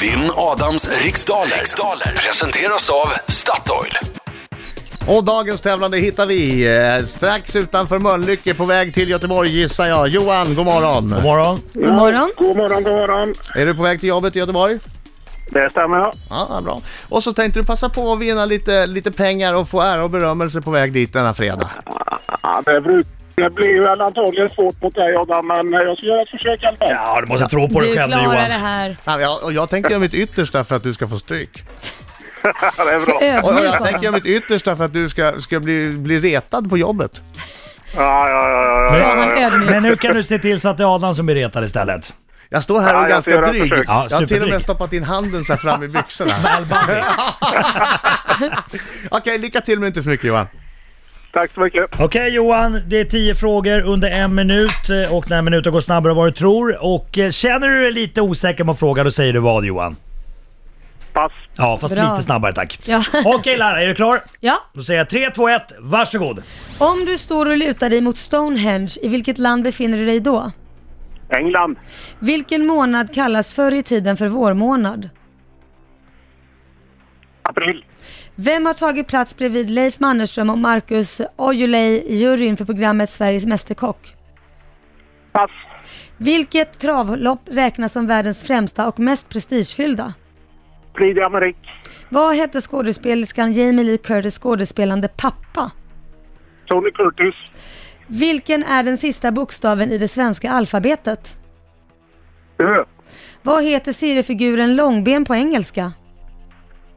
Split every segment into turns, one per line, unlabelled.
Vinn Adams riksdaler. riksdaler presenteras av Statoil.
Och dagens tävlande hittar vi eh, strax utanför Mölnlycke på väg till Göteborg gissar jag. Johan, god morgon.
God morgon.
God morgon.
God morgon, god morgon.
Är du på väg till jobbet i Göteborg?
Det stämmer ja.
Ja, bra. Och så tänkte du passa på att vinna lite, lite pengar och få ära och berömmelse på väg dit denna fredag.
ja det, bruk- det blir väl antagligen svårt mot dig Adam, men jag ska göra ett försök i alla fall.
Ja, du måste tro på dig
Du
själv
klarar
Johan.
det här.
Ja, jag- Och jag tänker göra mitt yttersta för att du ska få stryk.
det är
Så
bra.
Och och
ödmjuk
jag tänker
bara.
göra mitt yttersta för att du ska, ska bli, bli retad på jobbet.
Ja, ja, ja, ja,
Så
ja,
han
ja, ja.
ödmjuk.
Men nu kan du se till så att det är Adam som blir retad istället.
Jag står här och
Ja,
är
jag
ganska
ska göra ett
dryg.
försök.
Ja,
jag har till och med
superdryg.
stoppat in handen så här fram i byxorna. Okej, lycka till men inte för mycket Johan.
Tack så mycket.
Okej Johan, det är tio frågor under en minut eh, och den här minuten går snabbare än vad du tror. Och eh, känner du dig lite osäker på en fråga, då säger du vad Johan?
Pass.
Ja, fast
Bra.
lite snabbare tack.
Ja.
Okej Lara, är du klar?
Ja.
Då säger jag 3, 2, 1, varsågod!
Om du står och lutar dig mot Stonehenge, i vilket land befinner du dig då?
England.
Vilken månad kallas förr i tiden för vårmånad?
April.
Vem har tagit plats bredvid Leif Mannerström och Marcus Aujalay i juryn för programmet Sveriges Mästerkock?
Pass.
Vilket travlopp räknas som världens främsta och mest prestigefyllda?
Prix d'Amérique.
Vad hette skådespelerskan Jamie Lee Curtis skådespelande pappa?
Tony Curtis.
Vilken är den sista bokstaven i det svenska alfabetet?
Ö.
Vad heter seriefiguren Långben på engelska?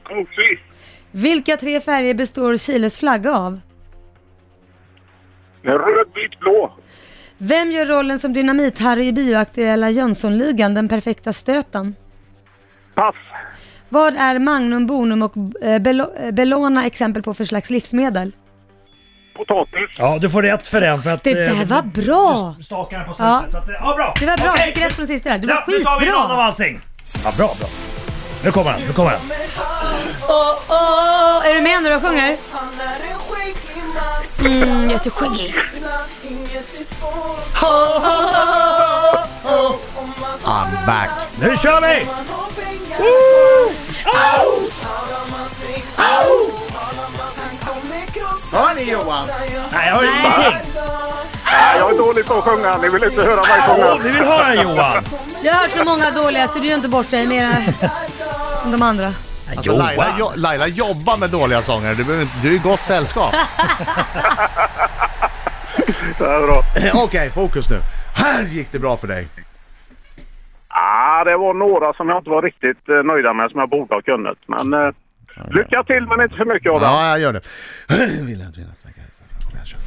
Kofi.
Vilka tre färger består Chiles flagga av?
Röd, vit, blå.
Vem gör rollen som Dynamit-Harry i bioaktuella Jönssonligan, Den perfekta stöten?
Pass.
Vad är Magnum, Bonum och eh, Belo- eh, Bellona exempel på för slags livsmedel?
Potatis.
Ja, du får rätt för den för att...
Det
eh,
där var bra!
Du stakar den på slutet
Ja.
så att... eh, Ja, bra!
Det var bra,
Okej.
jag fick rätt på den sista där. Det var
Ja, nu tar vi in Adam
skitbra!
Alsing! Ja, bra, bra. Nu kommer han, nu kommer han.
Åh, åh, åh. Är du med när du sjunger?
Han är en skäggig man
Mm, jätteskäggig.
Inget är svårt om man har
I'm back.
Nu kör vi!
man har pengar Har man sin Har man sin kommer krossa
Hör ni Johan?
Nej, jag hör ingenting.
Nej, jag är dålig på att sjunga. Ni vill inte höra mig
Åh,
sjunga.
vi vill höra Johan!
Jag har hört så många dåliga så du gör inte bort dig mer än de andra.
Alltså, Laila, jo, Laila jobbar med dåliga sångare. Du, behöver inte- du är i gott sällskap.
Det är bra.
Okej, fokus nu. Här gick det bra för dig.
Ah, det var några som jag inte var riktigt eh, nöjda med som jag borde ha kunnat. Men eh, lycka till men inte för mycket Adam.
Ja, jag gör det. Vill jag inte vinna, tackar. Kom igen, kör.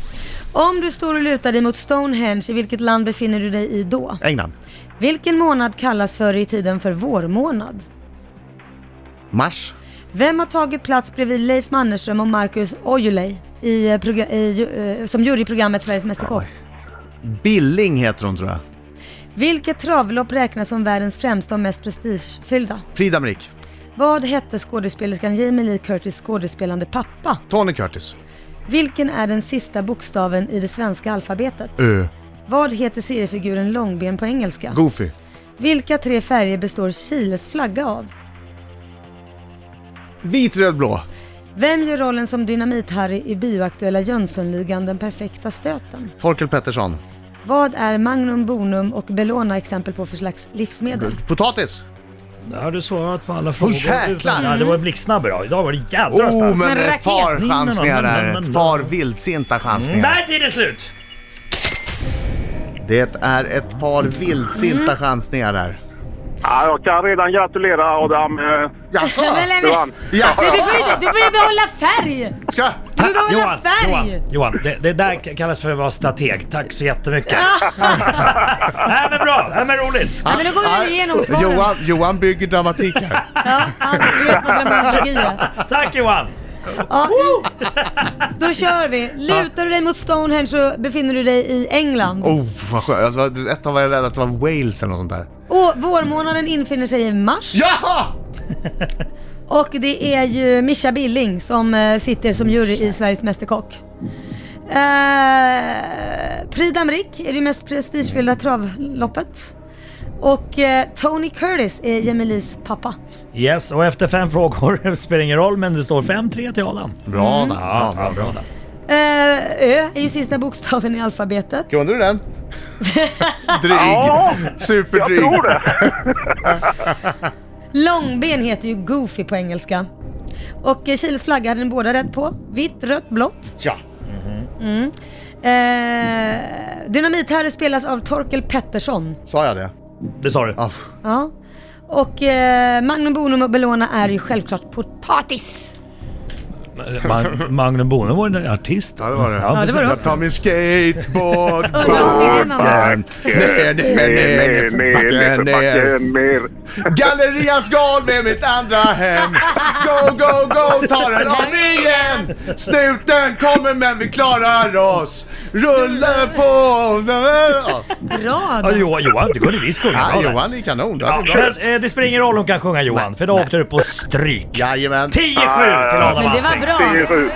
Om du står och lutar dig mot Stonehenge, i vilket land befinner du dig i då?
England.
Vilken månad kallas förr i tiden för vårmånad?
Mars.
Vem har tagit plats bredvid Leif Mannerström och Marcus Aujalay i, eh, progra- i, ju- eh, som jury i programmet Sveriges Mästerkock?
Billing heter hon tror jag.
Vilket travlopp räknas som världens främsta och mest prestigefyllda?
Fridamrik.
Vad hette skådespelerskan Jamie Lee Curtis skådespelande pappa?
Tony Curtis.
Vilken är den sista bokstaven i det svenska alfabetet?
Ö.
Vad heter seriefiguren Långben på engelska?
Goofy.
Vilka tre färger består Chiles flagga av?
Vit, röd, blå.
Vem gör rollen som Dynamit-Harry i bioaktuella Jönssonligan Den perfekta stöten?
Torkel Pettersson.
Vad är Magnum, Bonum och Bellona exempel på för slags livsmedel?
Potatis.
Där har du svarat på alla frågor.
Åh, jäklar!
Ja, det var blixtsnabbt idag. Idag var det jädra
Oh,
snabbt.
men
en
ett
raket.
par chansningar där.
Mm,
Ett par vildsinta chansningar.
Där är det slut!
Det är ett par vildsinta chansningar där.
Ja, jag kan redan gratulera Adam. Eh,
Jaså?
Men, men,
du
men,
vann.
Ja.
Du får ju inte- du får ju behålla färg!
Ska...
Du får behålla
Johan,
färg!
Johan, Johan det, det där k- kallas för att vara strateg. Tack så jättemycket. Nej men bra, Nej, men roligt.
Ja, men då går vi väl igenom svaren.
Johan, Johan bygger dramatik här.
Ja, han vet vad dramaturgi är.
Tack Johan!
Ja, då kör vi. Lutar du dig mot Stonehenge så befinner du dig i England.
Oh, vad skönt. Jag var- Ett tag var jag rädd att det var Wales eller något sånt där.
Och vårmånaden infinner sig i mars.
Jaha!
Och det är ju Mischa Billing som eh, sitter som jury i Sveriges Mästerkock. Eh, Uh, Prix d'Amérique är det mest prestigefyllda travloppet. Och eh, Tony Curtis är Jemilis pappa.
Yes, och efter fem frågor, spelar ingen roll, men det står 5-3 till Adam.
Bra där.
Ja, ja, bra där.
Eh, Ö är ju sista bokstaven i alfabetet.
Kunde du den? Dryg.
Ja, jag
Superdryg.
tror det.
Långben heter ju Goofy på engelska. Och eh, Chiles flagga hade ni båda rätt på. Vitt, rött, blått.
Ja.
Eh, Dynamit-Harry spelas av Torkel Pettersson.
Sa jag det?
Det sa du.
Ja.
Ja. Och eh, Magnum Bonum och Bellona är ju självklart potatis.
Eh, Mag- Magnum Bonum var en artist.
Ja, det var det.
Ja, det var det
Jag
också.
tar min skateboard.
Undrar om vilken annan.
Backen. Ner, ner, ner, ner,
Ner, ner,
backen, ner.
ner, ner.
Gallerias golv är mitt andra hem. Go, go, go, ta den om igen. Snuten kommer men vi klarar oss. Rullar på. Ja,
Bra
Ja,
då.
Johan, Johan, det kunde visst sjunga.
Ja,
bra där.
Johan är kanon. Ja,
Ja,
det är bra.
men, eh, det spelar ingen roll om hon kan sjunga Johan, för då åkte du på stryk.
Jajamän.
10-7 till Adam
Men det var
Alsing.
bra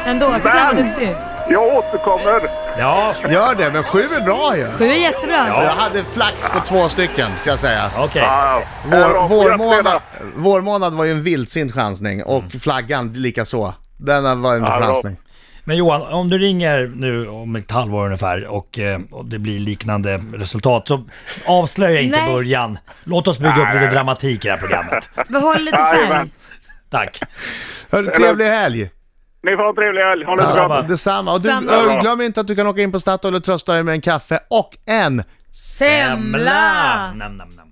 ändå. Jag tycker jag var duktig.
Jag återkommer.
Ja,
Gör det, men sju är bra ju.
Sju är jättebra.
Jag hade flax på två stycken, ska jag säga.
okej.
Ja,
Vår, vårmånad,
Gratulerar.
vårmånad var ju en vildsint chansning och flaggan lika så. Den var en
Ja, bra.
chansning.
Men Johan, om du ringer nu om ett halvår ungefär och, eh, och det blir liknande resultat så avslöja inte
Nej.
början. Låt oss bygga upp lite dramatik i det här programmet.
Behåll lite färg.
Jajamän.
Tack.
Hörru, trevlig helg!
Ni får ha en trevlig helg. Ha det så
Detsamma.
bra.
Ja.
Detsamma! Och du,
Samma.
ö, glöm inte att du kan åka in på Statoil och trösta dig med en kaffe och en
Semla!
Nam, nam, nam.